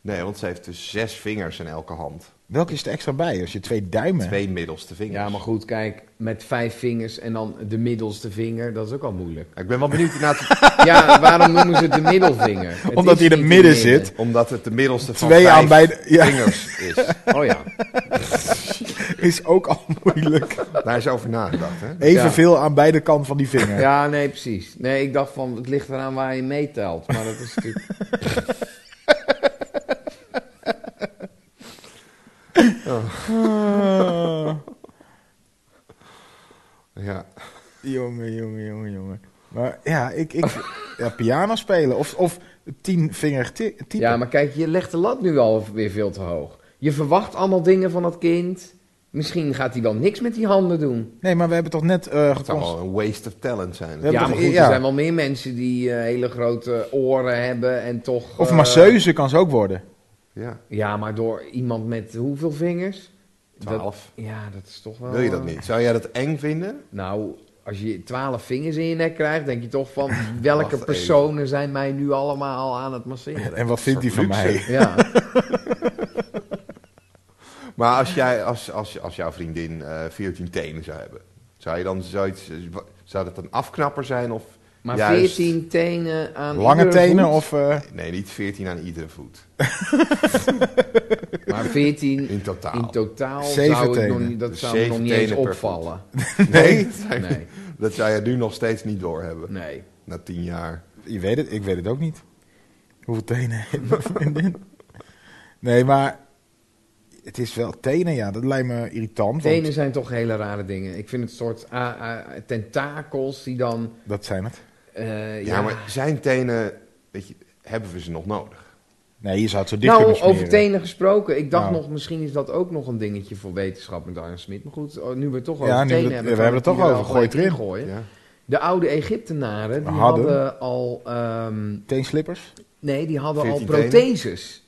S2: Nee, want ze heeft dus zes vingers in elke hand.
S4: Welke is er extra bij? Als je twee duimen...
S2: Twee middelste vingers.
S3: Ja, maar goed, kijk, met vijf vingers en dan de middelste vinger, dat is ook al moeilijk.
S2: Ik ben wel benieuwd naar
S3: Ja, waarom noemen ze het de middelvinger? Het
S4: Omdat
S3: is
S4: hij in het
S3: niet
S4: midden
S3: midden.
S4: zit.
S2: Omdat het de middelste van
S4: Twee
S2: vijf
S4: aan beide- ja.
S2: vingers is.
S3: Oh ja.
S4: Is ook al moeilijk.
S2: Daar is over nagedacht, hè?
S4: Evenveel aan beide kanten van die vinger.
S3: Ja, nee, precies. Nee, ik dacht van, het ligt eraan waar je meetelt. Maar dat is natuurlijk...
S4: Ah,
S2: Ja.
S4: jongen, jongen, jongen, jongen. Maar ja, ik... ik ja, piano spelen. Of, of tienvinger ty- typen.
S3: Ja, maar kijk, je legt de lat nu al weer veel te hoog. Je verwacht allemaal dingen van dat kind. Misschien gaat hij wel niks met die handen doen.
S4: Nee, maar we hebben toch net eh
S2: Het zou
S4: geconst-
S2: wel een waste of talent zijn.
S4: Ja,
S3: Ja,
S4: maar
S3: maar goed,
S4: ja.
S3: er zijn wel meer mensen die eh, hele grote oren hebben en toch...
S4: Of
S3: eh,
S4: masseuse kan ze ook worden.
S2: Ja,
S3: Ja, maar door iemand met hoeveel vingers?
S2: twaalf.
S3: Dat- ja, dat is toch wel...
S2: Wil je dat
S3: eh,
S2: niet? Zou jij dat eng vinden?
S3: Nou, als je twaalf vingers in je nek krijgt, denk je toch van... welke
S2: even.
S3: personen zijn mij nu allemaal aan het masseren?
S4: En wat vindt hij van
S2: luxe.
S4: mij?
S3: Ja.
S2: Maar als, jij, als, als, als jouw vriendin eh 14 tenen zou hebben, zou, je dan zoiets, zou dat een afknapper zijn? Of
S3: Maar
S2: juist-
S3: 14 tenen aan
S4: Lange
S3: iedere
S4: tenen
S3: voet?
S4: of... eh,
S2: Nee, niet 14 aan iedere voet.
S3: Maar 14
S2: In totaal.
S3: in totaal
S4: Zeven
S3: zou ik nog
S4: tenen.
S3: niet, dat
S2: Dus
S3: zou me nog
S2: zeven
S3: niet eens
S2: tenen per voet.
S3: opvallen.
S2: Nee,
S3: Nee,
S2: dat zou je nu nog steeds niet doorhebben.
S3: nee.
S2: Na 10 jaar.
S4: Je weet het, ik weet het ook niet. Hoeveel tenen heeft mijn vriendin? Nee, maar het is wel tenen, ja. Dat lijkt me irritant.
S3: Tenen
S4: Want
S3: zijn toch hele rare dingen. Ik vind het soort ah, ah, tentakels die dan...
S4: dat zijn het.
S3: eh,
S2: Ja, maar zijn tenen, weet je, hebben we ze nog nodig?
S4: Nee, je zou het zo dicht
S3: Nou,
S4: kunnen smeren.
S3: over tenen gesproken. Ik dacht
S4: Nou.
S3: nog, misschien is dat ook nog een dingetje voor wetenschap met Arjen Smit. Maar goed, oh, nu we het toch
S4: Ja,
S3: over
S4: nu we
S3: tenen
S4: het-
S3: hebben.
S4: we
S3: kan
S4: hebben
S3: ik
S4: het toch
S3: hier wel
S4: over. Gooi het
S3: even
S4: erin.
S3: ingooien.
S2: Ja.
S3: De oude Egyptenaren, die
S4: Hadden.
S3: hadden, al... ehm,
S4: Teenslippers?
S3: nee, die hadden al
S2: 14 tenen.
S3: protheses.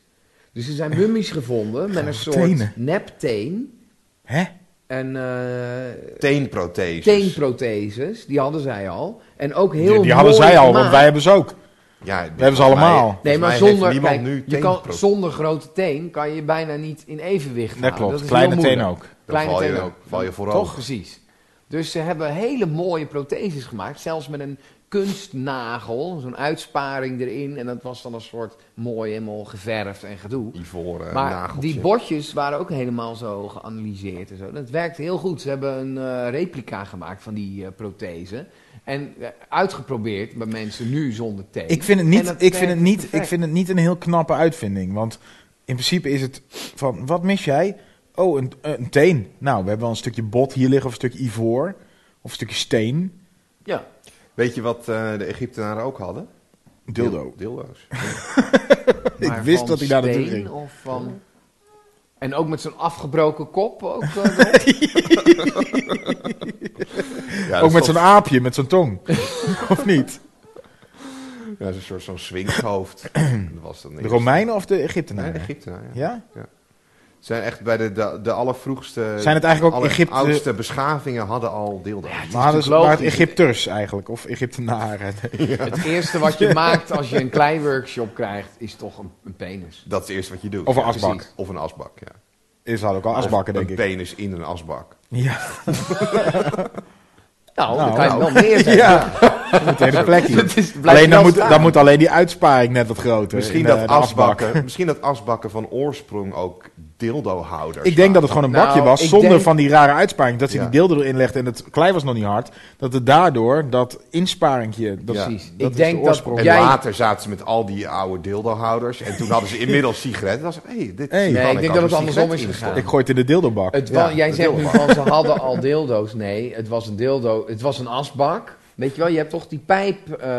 S3: Dus er zijn mummies gevonden met een soort
S4: tenen.
S3: nepteen.
S4: Hè?
S3: En eh,
S2: Teenprotheses.
S3: teenprotheses, die hadden zij al. En ook heel
S4: die die hadden
S3: mooi
S4: zij al, want
S3: gemaakt.
S4: wij hebben ze ook.
S2: Ja,
S4: We hebben ze allemaal. Nee,
S3: Nee, maar
S2: volgens mij heeft
S3: zonder,
S2: niemand
S3: kijk,
S2: nu
S3: je kan,
S2: teenprotheses.
S3: zonder grote teen kan je bijna niet in evenwicht
S4: Dat
S3: houden.
S4: klopt.
S3: is
S4: Kleine
S3: heel
S4: teen
S3: moeilijk.
S4: ook.
S2: Dan
S3: Kleine
S2: val je-
S3: teen ook.
S2: val je voorover.
S3: Toch, precies. Dus ze hebben hele mooie protheses gemaakt. Zelfs met een kunstnagel, zo'n uitsparing erin. En dat was dan een soort mooi helemaal geverfd en gedoe.
S2: Ivoren
S4: eh,
S3: Maar
S2: eh, nageltje.
S3: die botjes waren ook helemaal zo geanalyseerd en zo. Dat werkte heel goed. Ze hebben een eh, replica gemaakt van die eh, prothese. En eh, uitgeprobeerd bij mensen nu zonder teen.
S4: Ik vind het
S3: En
S4: niet,
S3: dat
S4: ik vind
S3: werkt
S4: het niet,
S3: perfect.
S4: ik vind het niet een heel knappe uitvinding. Want in principe is het van, wat mis jij? Oh, een, een teen. Nou, we hebben wel een stukje bot hier liggen, of een stuk ivoor, of een stukje steen.
S3: Ja.
S2: Weet je wat eh, de Egyptenaren ook hadden?
S4: Dildo.
S2: Dildo's.
S4: Ik wist dat hij daar naartoe ging.
S3: Of van... En ook met zo'n afgebroken kop. Ook, eh, wel.
S2: Ja,
S4: Ook met
S2: zo'n
S4: zo'n aapje, met zo'n tong. of niet?
S2: ja, zo'n soort zo'n swinghoofd. dat was dan
S4: De Romeinen of de
S2: Nee,
S4: Egyptenaren?
S2: Egyptenaren. Ja.
S4: Ja?
S2: Zijn echt bij de, de, de allervroegste...
S4: Zijn het eigenlijk ook
S2: Egypte...
S4: Egypte-
S2: oudste beschavingen hadden al dildo's.
S4: Maar hadden ze- waren het
S3: logisch.
S4: Egypters eigenlijk, of Egyptenaren?
S3: Het eerste wat je maakt als je een klein workshop krijgt, is toch een, een penis.
S2: Dat is eerst wat je doet.
S4: Of een
S2: ja.
S4: asbak.
S3: precies.
S2: Of een asbak, ja.
S4: Is hadden ook al asbakken,
S2: Of
S4: denk
S2: een
S4: ik.
S2: penis in een asbak.
S4: Ja,
S3: Nou,
S4: Nou,
S3: dan kan je
S4: nou.
S3: wel meer zijn.
S4: ja. het hele plekje.
S3: Het is- het blijft
S4: Alleen dan
S3: wel
S4: moet,
S3: staan.
S4: dan moet alleen die uitsparing net wat groter.
S2: Misschien
S4: in,
S2: dat,
S4: eh, de asbak.
S2: asbakken, misschien dat asbakken van oorsprong ook dildohouders
S4: Ik denk dat het gewoon een
S3: Nou,
S4: bakje was,
S3: ik
S4: zonder
S3: denk-
S4: van die rare uitsparing. Dat ze
S2: Ja.
S4: die deel erin legden en het klei was nog niet hard. Dat het daardoor, dat insparingje... Dat,
S2: Ja.
S3: Precies.
S4: dat
S3: ik
S4: is
S3: denk
S4: de
S3: dat
S4: oorsprong.
S2: En
S3: jij...
S2: later zaten ze met al die oude dildohouders. En toen hadden ze inmiddels sigaretten. Dat was, hey, dit
S4: Hey.
S2: zie je
S4: Nee,
S2: wel,
S3: ik denk
S2: had
S3: dat
S2: een
S3: het andersom
S2: sigaret
S3: is
S2: ingestopt.
S3: gegaan.
S4: Ik gooi het in de dildo-bak.
S3: Het
S2: Ja,
S3: wa- jij
S2: dat
S3: zegt nu
S2: wil
S3: van ze hadden al dildo's. Nee, het was een dildo. Het was een asbak. Weet je wel, je hebt toch die pijp eh,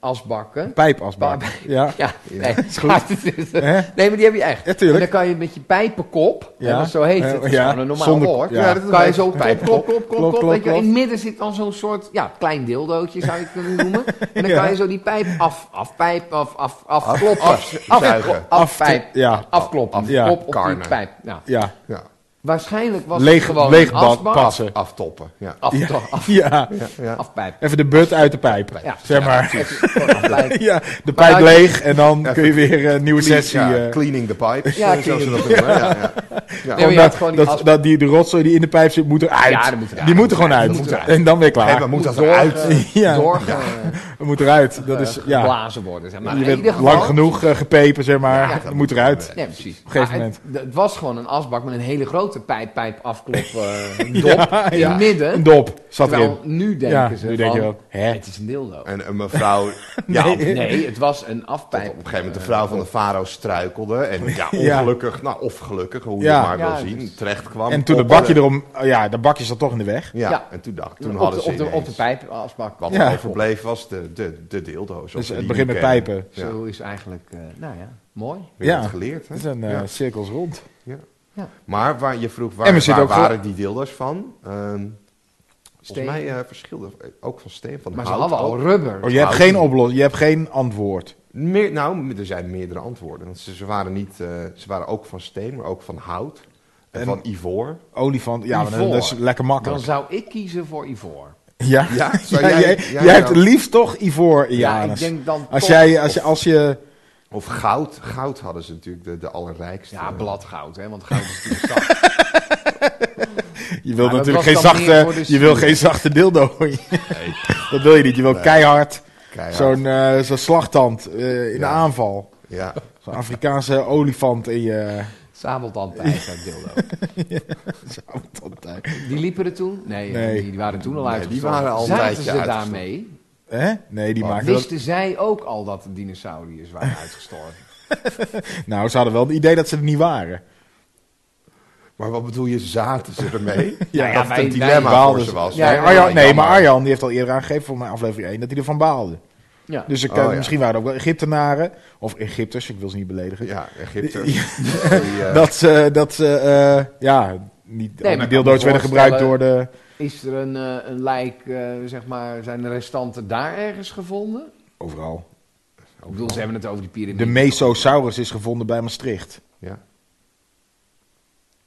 S3: asbakken.
S4: Pijpasbak.
S3: Waar-
S4: Ja.
S3: Ja, nee.
S4: goed.
S3: Ja, dit is-
S4: Hè?
S3: nee, maar die heb je echt.
S4: Ja, tuurlijk.
S3: En dan kan je met je pijpenkop,
S4: Ja.
S3: hè, want zo heet het, dat is
S4: Ja.
S3: gewoon een normaal
S4: Zonder-
S3: woord.
S4: ja. Ja,
S2: dat is
S3: kan je
S2: een
S3: zo pijp, klop, klop, klop,
S4: Klop,
S3: klop.
S4: klop,
S3: weet je, wel. in
S4: klop.
S3: het midden zit dan zo'n soort, ja, klein dildootje zou je het kunnen noemen. En dan
S4: Ja.
S3: kan je zo die pijp af, afpijp, af, af, afkloppen. Af,
S2: afzuigen.
S4: Af-
S3: afpijp,
S4: ja.
S3: afkloppen,
S4: Ja.
S3: klop op die
S2: Karnen.
S3: pijp. Nou,
S4: Ja.
S2: Ja,
S3: waarschijnlijk was het
S4: Leeg,
S3: gewoon
S4: leeg
S3: een
S4: ba-
S3: asbak.
S4: passen.
S2: aftoppen. Ja.
S3: Af,
S4: Ja.
S3: toch, af,
S4: Ja.
S2: Ja.
S3: afpijp.
S4: Even de but uit de pijp.
S3: Ja.
S4: Zeg maar.
S3: Even gewoon afpijp.
S4: Ja, de pijp
S3: uit-
S4: leeg en dan kun je weer eh, een nieuwe
S2: Clean-
S4: sessie.
S2: ja,
S4: eh,
S2: cleaning the pipes,
S3: Ja,
S2: eh, zoals ze dat
S3: cleaning.
S2: noemen. Ja, ja. Ja.
S3: Nee, maar je
S4: omdat
S3: hebt gewoon die
S4: dat,
S3: asbak.
S4: dat die, de rotzooi die in de pijp zit, moet eruit.
S3: Ja, dat moet eruit.
S4: die moet er gewoon
S3: Dat
S4: uit.
S3: moet eruit.
S4: En dan weer klaar.
S2: Hey, maar moet dat eruit?
S4: Ja.
S3: Doorge,
S4: Het moet eruit. Dat is, ja.
S3: geblazen worden. Zeg maar.
S4: Je
S3: In
S4: bent
S3: ieder geval-
S4: lang genoeg eh, gepepen, zeg maar.
S3: Ja.
S4: Het moet eruit.
S3: Nee, precies. Op
S4: een gegeven moment.
S3: Het, het was gewoon een asbak met een hele grote pijp, pijp afklop, eh, een dop in het midden.
S4: Een dop zat
S3: terwijl
S4: erin.
S3: nu denken
S4: Ja,
S3: ze
S4: nu
S3: van,
S4: denk je ook. Hè?
S3: het is een dildo.
S2: En een mevrouw... ja, op, op
S3: Nee, het was een
S2: een
S3: afpijp.
S2: gegeven moment de vrouw van de farao struikelde. En ja,
S4: Ja.
S2: ongelukkig, nou of gelukkig, hoe je
S4: Ja.
S2: het maar
S3: Ja,
S2: wil zien,
S3: dus-
S2: terecht kwam.
S4: En toen het
S2: op haar-
S4: bakje erom... oh Ja, dat bakje zat toch in de weg.
S2: Ja,
S3: Ja.
S2: en toen, dacht, toen
S3: op,
S2: hadden
S3: de,
S2: ze
S3: op, de, op
S2: ineens-
S3: de pijp afbak.
S2: Wat
S4: Ja.
S2: er overbleef was de, de, de deeldoos.
S4: Dus het begint met pijpen.
S2: Ja.
S3: Zo is eigenlijk, eh, nou ja, mooi.
S2: We hebben
S4: Ja.
S2: het geleerd, hè?
S4: Het zijn eh,
S2: Ja.
S4: cirkels rond.
S2: Maar waar, je vroeg,
S4: En
S2: waar,
S4: we zitten
S2: waar
S4: ook
S2: waren die deeldoos van? Ehm
S3: Steen.
S2: volgens mij eh, verschilde v- ook van steen, van
S3: Maar ze
S2: hout.
S3: hadden al
S2: ook.
S3: rubber.
S4: Oh, je hebt
S2: Hout.
S4: geen oplossing. Je hebt geen antwoord.
S2: Meer, nou, er zijn meerdere antwoorden. Want ze, ze waren niet, eh, ze waren ook van steen, maar ook van hout. En,
S4: En-
S2: van ivoor.
S4: Olifant. Ja, maar dat
S3: Ivoor.
S4: is lekker
S3: Dan
S4: makkelijk.
S3: zou ik kiezen voor ivoor.
S4: Ja,
S2: Ja, zou
S4: Ja,
S2: jij-
S4: jij,
S2: jij
S4: jij
S2: dan?
S4: hebt liefst toch ivoor in je
S3: Ja, ik
S4: anus.
S3: denk dan
S4: als
S3: toch-
S4: jij, als je, als je,
S2: Of goud. Goud hadden ze natuurlijk, de, de allerrijkste.
S3: Ja, bladgoud, hè, want goud is natuurlijk zacht.
S4: je wilt
S3: dat
S4: natuurlijk
S3: was
S4: geen
S3: dan meer voor
S4: zachte,
S3: de
S4: je wil
S3: studie.
S4: geen zachte dildo.
S2: Nee,
S4: dat wil je niet. Je wil keihard
S2: Eh, keihard.
S4: zo'n eh, zo'n slagtand eh, in de
S2: Ja.
S4: aanval.
S2: Ja.
S4: Zo'n Afrikaanse olifant in je
S3: Sabeltandpijp, dildo.
S4: sabeltandtijd.
S3: Die liepen er toen? Nee,
S4: Nee.
S3: Die, die waren toen al
S2: Nee,
S3: uitgestopt.
S2: die waren al een
S3: Zaten
S2: tijdje
S3: ze
S2: uitgestorven.
S3: daarmee?
S4: Hè? Nee, die maken dat.
S3: Wisten zij ook al dat de dinosauriërs waren uitgestorven?
S4: Nou, ze hadden wel het idee dat ze er niet waren.
S2: Maar wat bedoel je, zaten ze ermee?
S4: Ja,
S3: Nou ja,
S2: dat
S3: wij-
S2: het een
S3: wij
S2: dilemma voor
S4: baalden
S2: ze
S4: ze.
S2: was.
S3: Ja,
S2: hè?
S4: Nee,
S3: ja,
S4: Arjan, nee,
S2: jammer.
S4: maar Arjan die heeft al eerder aangegeven voor mijn aflevering 1 dat hij ervan baalde.
S3: Ja.
S4: Dus ik,
S2: Oh,
S4: eh,
S2: ja.
S4: misschien waren er ook wel Egyptenaren of Egypters, ik wil ze niet beledigen.
S2: Ja, Egypte.
S4: Ja.
S2: Die, eh,
S4: Dat ze, dat ze eh, ja, niet,
S3: maar
S4: al
S3: ik
S4: die
S3: kan
S4: deeldoos
S3: me
S4: werden gebruikt door
S3: voorstellen-
S4: de...
S3: Is er een, eh, een lijk, eh, zeg maar, zijn de restanten daar ergens gevonden?
S4: Overal.
S3: Ik bedoel, ze hebben het over die piramide.
S4: De Mesosaurus is gevonden bij Maastricht.
S2: ja.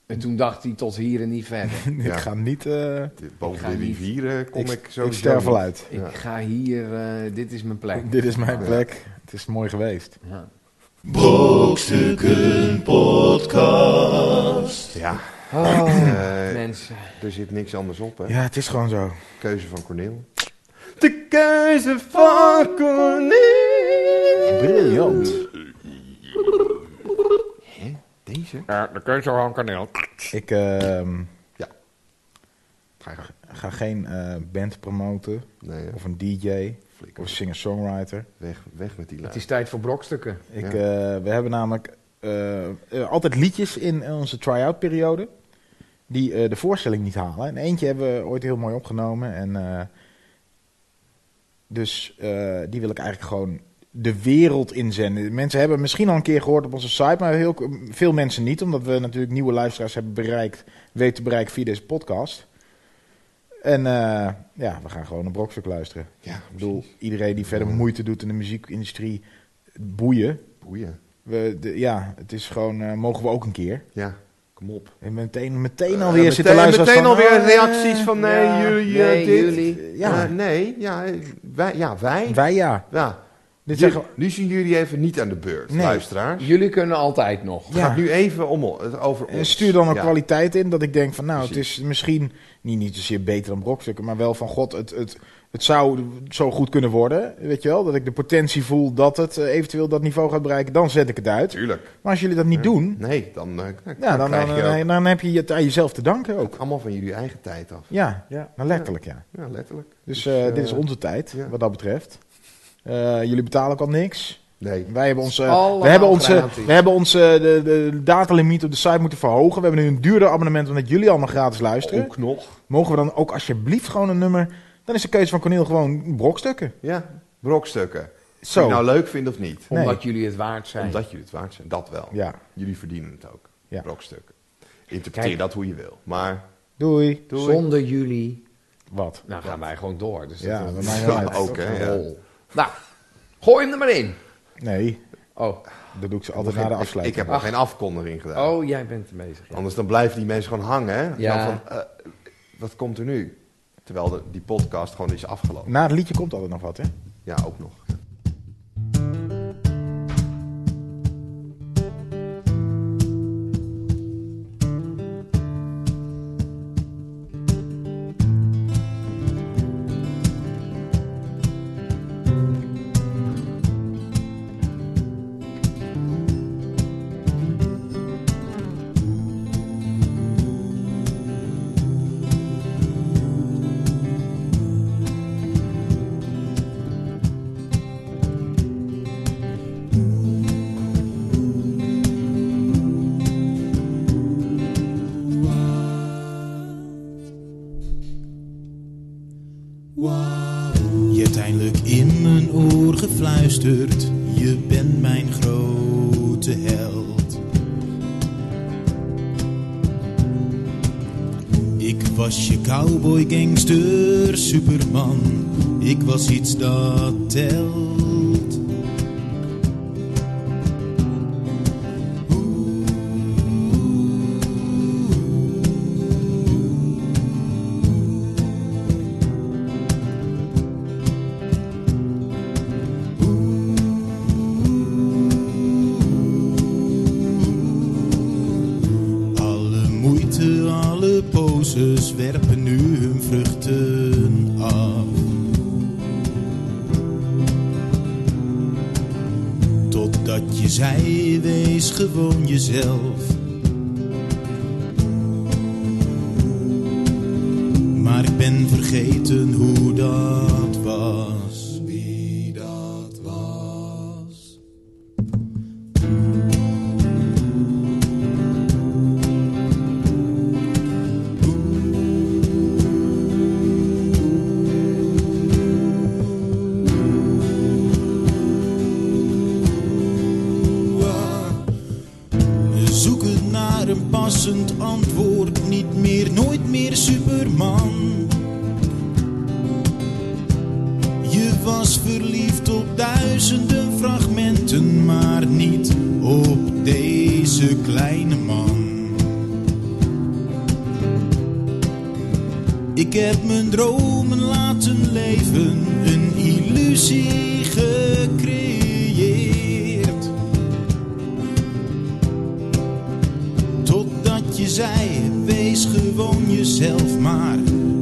S3: En toen dacht hij tot hier en niet verder.
S2: Ja.
S4: Ik ga niet... eh,
S2: De- Boven
S3: ga
S2: de
S3: niet.
S2: rivieren kom ik,
S4: ik,
S2: zo.
S4: ik sterf al uit.
S3: Ik ga hier, eh, dit is mijn plek.
S4: Dit is mijn plek. Het is mooi geweest.
S3: Ja.
S1: Brokstukken Podcast.
S2: Ja,
S3: Oh,
S2: eh,
S3: mensen.
S2: er zit niks anders op, hè?
S4: Ja, het is gewoon zo.
S2: Keuze van Corneel. De keuze van Corneel.
S4: Briljant.
S2: Deze?
S4: Ik ehm,
S2: Ga je gaan.
S4: ga geen eh, band promoten.
S2: Nee, hè?
S4: Of een DJ.
S2: Flikker.
S4: Of een singer-songwriter.
S2: weg, weg met die
S3: Het
S2: lijn.
S3: is tijd voor brokstukken.
S4: Ik, eh, we hebben namelijk eh, eh, altijd liedjes in onze try-out periode. Die eh, de voorstelling niet halen. En eentje hebben we ooit heel mooi opgenomen. En, eh, dus eh, die wil ik eigenlijk gewoon de wereld inzenden. Mensen hebben misschien al een keer gehoord op onze site. Maar heel, veel mensen niet. Omdat we natuurlijk nieuwe luisteraars hebben bereikt. Weten te bereiken via deze podcast. En eh, ja, we gaan gewoon een brokstuk luisteren.
S2: Ja,
S4: Ik bedoel, iedereen die verder moeite doet in de muziekindustrie, boeien.
S2: boeien.
S4: We, de- ja, het is gewoon, eh, mogen we ook een keer.
S2: Ja, kom op.
S4: En meteen, meteen
S2: Eh,
S4: alweer zitten
S2: meteen-
S4: luisteren. Eh,
S2: Meteen alweer reacties van nee, jullie, eh,
S3: nee,
S2: dit.
S3: jullie.
S2: Eh,
S4: Ja.
S2: Ja, nee, ja, eh, wij. Ja, wij.
S4: Wij ja.
S2: Ja.
S4: Dit
S2: Ju-
S4: zeggen we-
S2: nu zien jullie even niet aan de beurt,
S4: Nee.
S2: luisteraars.
S3: Jullie kunnen altijd nog.
S2: Het gaat nu even om, o- het over
S4: en
S2: ons.
S4: Eh, stuur dan ook
S2: Ja.
S4: kwaliteit in, dat ik denk van nou, het is misschien niet, niet zozeer beter dan brokstukken, maar wel van god, het, het, het zou zo goed kunnen worden. Weet je wel, dat ik de potentie voel dat het eh, eventueel dat niveau gaat bereiken, dan zet ik het uit.
S2: Tuurlijk.
S4: Maar als jullie dat niet doen,
S2: Nee, dan, eh, dan,
S4: ja, dan,
S2: krijg
S4: dan,
S2: je ook
S4: dan, dan heb je het aan jezelf te danken ook.
S2: allemaal van jullie eigen tijd af.
S4: Ja, ja. Nou, letterlijk ja.
S2: Ja, letterlijk.
S4: Dus eh, dit is onze tijd,
S2: ja.
S4: wat dat betreft. Eh, jullie betalen ook al niks.
S2: Nee.
S4: Wij hebben onze,
S3: Allemaal
S4: we hebben onze,
S3: gratis.
S4: we hebben onze de, de datalimiet op de site moeten verhogen. We hebben nu een duurder abonnement omdat jullie allemaal gratis luisteren.
S2: Ook nog.
S4: Mogen we dan ook alsjeblieft gewoon een nummer... Dan is de keuze van Cornel gewoon brokstukken.
S2: Ja, brokstukken. Of je
S4: Zo.
S2: het nou leuk vindt of niet.
S4: Nee.
S3: Omdat jullie het waard zijn.
S2: Omdat jullie het waard zijn. Dat wel.
S4: Ja,
S2: Jullie verdienen het ook.
S4: Ja.
S2: Brokstukken. Interpreteer
S3: Kijk.
S2: dat hoe je wil. Maar
S4: doei.
S2: doei.
S3: Zonder jullie.
S4: Wat?
S3: Nou gaan wij gewoon door. Dus
S4: Ja,
S3: dat
S4: we
S3: is
S4: maken wel uit.
S2: Ook, hè, ja.
S3: Rol. Nou, gooi hem er maar in.
S4: Nee,
S3: Oh,
S4: dat doe ik ze altijd na de
S2: Ik- Ik,
S4: afsluiting.
S2: heb nog geen afkondiging gedaan.
S3: oh jij bent er bezig. Ja.
S2: Anders dan blijven die mensen gewoon hangen. Hè?
S3: Ja.
S2: Dan van, eh, wat komt er nu? Terwijl de- die podcast gewoon is afgelopen.
S4: Na het liedje komt altijd nog wat, hè?
S2: Ja, ook nog.
S5: Je hebt eindelijk in mijn oor gefluisterd, je bent mijn grote held. Ik was je cowboy gangster superman, ik was iets dat telt. Alle moeite, alle poses werpen nu hun vruchten af. Totdat je zei, wees gewoon jezelf. Maar ik ben vergeten hoe dat was. Wie dat was. Zoeken naar een passend antwoord, niet meer, nooit meer Superman. Je was verliefd op duizenden fragmenten, maar niet op deze kleine man. Ik heb mijn dromen laten leven, een illusie gecreëerd. Totdat je zei, wees gewoon jezelf maar.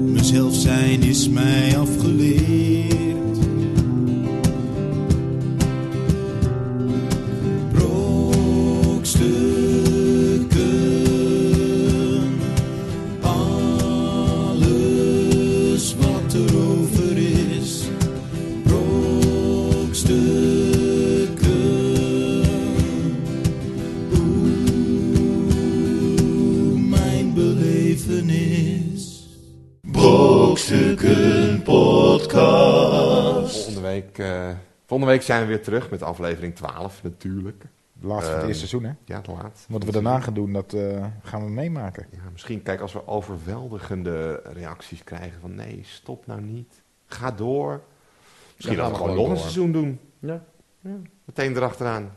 S5: Mezelf zijn is mij afgeleerd. Brokstukken. Alles wat er over is. Brokstukken.
S1: Brokstukken Podcast.
S2: Volgende week, eh, volgende week zijn we weer terug met aflevering 12 natuurlijk.
S4: Laatst van het
S2: Ehm,
S4: eerste seizoen, hè?
S2: Ja, te laat.
S4: Wat we daarna gaan doen, dat eh, gaan we meemaken.
S2: Ja, misschien, kijk, als we overweldigende reacties krijgen van nee, stop nou niet, ga door. Misschien
S3: Dan
S2: dat we
S3: gaan we
S2: gewoon nog
S3: gewoon
S2: een
S3: door.
S2: seizoen doen,
S3: Ja.
S2: meteen erachteraan.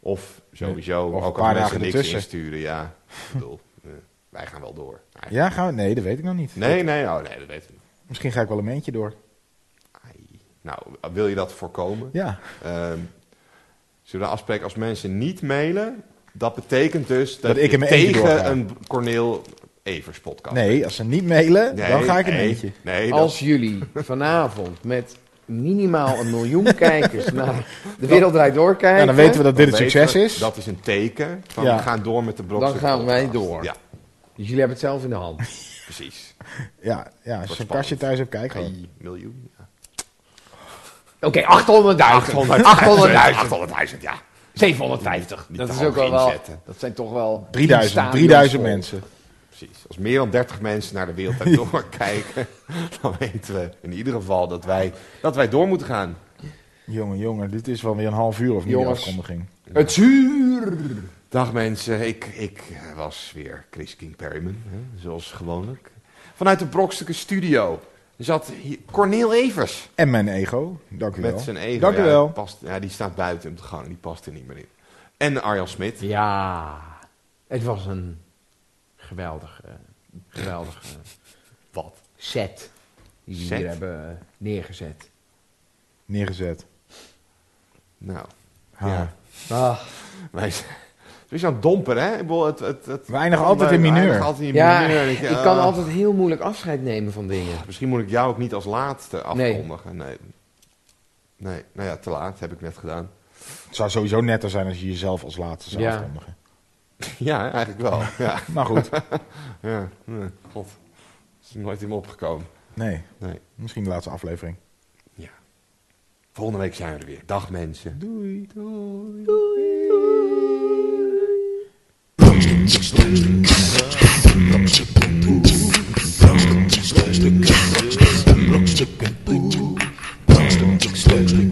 S2: Of sowieso,
S4: Eh, Of een
S2: ook
S4: paar
S2: als
S4: dagen
S2: mensen niks
S4: ertussen.
S2: insturen, ja. Ik bedoel, eh, wij gaan wel door. eigenlijk.
S4: Ja, gaan we? Nee, dat weet ik nog niet.
S2: Nee, nee, nou, nee, dat weten we niet.
S4: Misschien ga ik wel een eentje door.
S2: Ai. Nou, wil je dat voorkomen?
S4: Ja,
S2: Ehm, zullen we afspreken als mensen niet mailen? Dat betekent dus dat,
S4: Dat ik
S2: je
S4: in mijn eentje doorga.
S2: tegen een Corneel Evers podcast.
S4: nee, als ze niet mailen,
S2: Nee,
S4: dan ga ik een
S2: nee,
S4: eentje.
S2: Nee, dat-
S3: Als jullie vanavond met minimaal een miljoen kijkers naar de wereld draait door kijken,
S4: Nou, dan weten we dat dit
S2: dan
S4: het succes
S2: weten we,
S4: is.
S2: Dat is een teken van
S4: Ja.
S2: we gaan door met de brokstukken.
S3: Dan gaan wij
S2: podcast.
S3: door.
S2: Ja,
S3: Dus jullie hebben het zelf in de hand.
S2: precies.
S4: Ja, ja als je een
S2: spannend.
S4: kastje thuis hebt, kijk gewoon.
S2: Een miljoen. ja.
S3: Oké, 800.000.
S2: 800.000. ja.
S3: 750.
S2: Die
S3: Dat is
S2: taal
S3: ook wel wel.
S2: inzetten.
S3: Dat zijn toch wel.
S4: 3000,
S3: stadions
S4: 3000
S3: vol.
S4: mensen.
S2: Precies. Als meer dan 30 mensen naar de wereld en door kijken, dan weten we in ieder geval dat wij, dat wij door moeten gaan.
S4: Jongen, jongen, dit is wel weer een half uur of niet
S3: Jongens.
S4: de afkondiging.
S3: Het zuur.
S2: Dag mensen, ik, ik was weer Chris King Perryman, hè, zoals gewoonlijk. Vanuit de Brokstukken Studio zat hier Corneel Evers
S4: En mijn ego, dank u wel.
S2: met zijn ego.
S4: Dank u
S2: Ja,
S4: wel.
S2: die past, ja, die staat buiten op de gang, die past er niet meer in. En Arjan Smit.
S3: Ja. Het was een geweldige, geweldige
S2: Wat?
S3: set die we
S2: Set?
S3: hier hebben eh, neergezet.
S4: Neergezet.
S2: Nou,
S4: Ha.
S2: ja. Wij zijn, het is aan het domper, hè? Ik bedoel, het, het, het,
S4: We eindigen altijd in
S2: we
S4: mineur.
S2: eindigen altijd in
S3: ja,
S2: mineur. En ik,
S3: ik
S2: eh,
S3: kan altijd heel moeilijk afscheid nemen van dingen.
S2: Misschien moet ik jou ook niet als laatste
S3: Nee.
S2: afkondigen. Nee. Nee, nou ja, te laat, heb ik net gedaan.
S4: Het zou sowieso netter zijn als je jezelf als laatste zou
S3: Ja.
S4: afkondigen.
S2: Ja, eigenlijk wel. Ja.
S4: Maar Nou goed,
S2: Ja, nee, god. Is er nooit in me opgekomen.
S4: nee.
S2: Nee.
S4: Misschien de laatste aflevering.
S2: Ja. Volgende week zijn we er weer. Dag mensen. Doei. Doei.
S5: Brokstukken, brokstukken, brokstukken, brokstukken, brokstukken, brokstukken,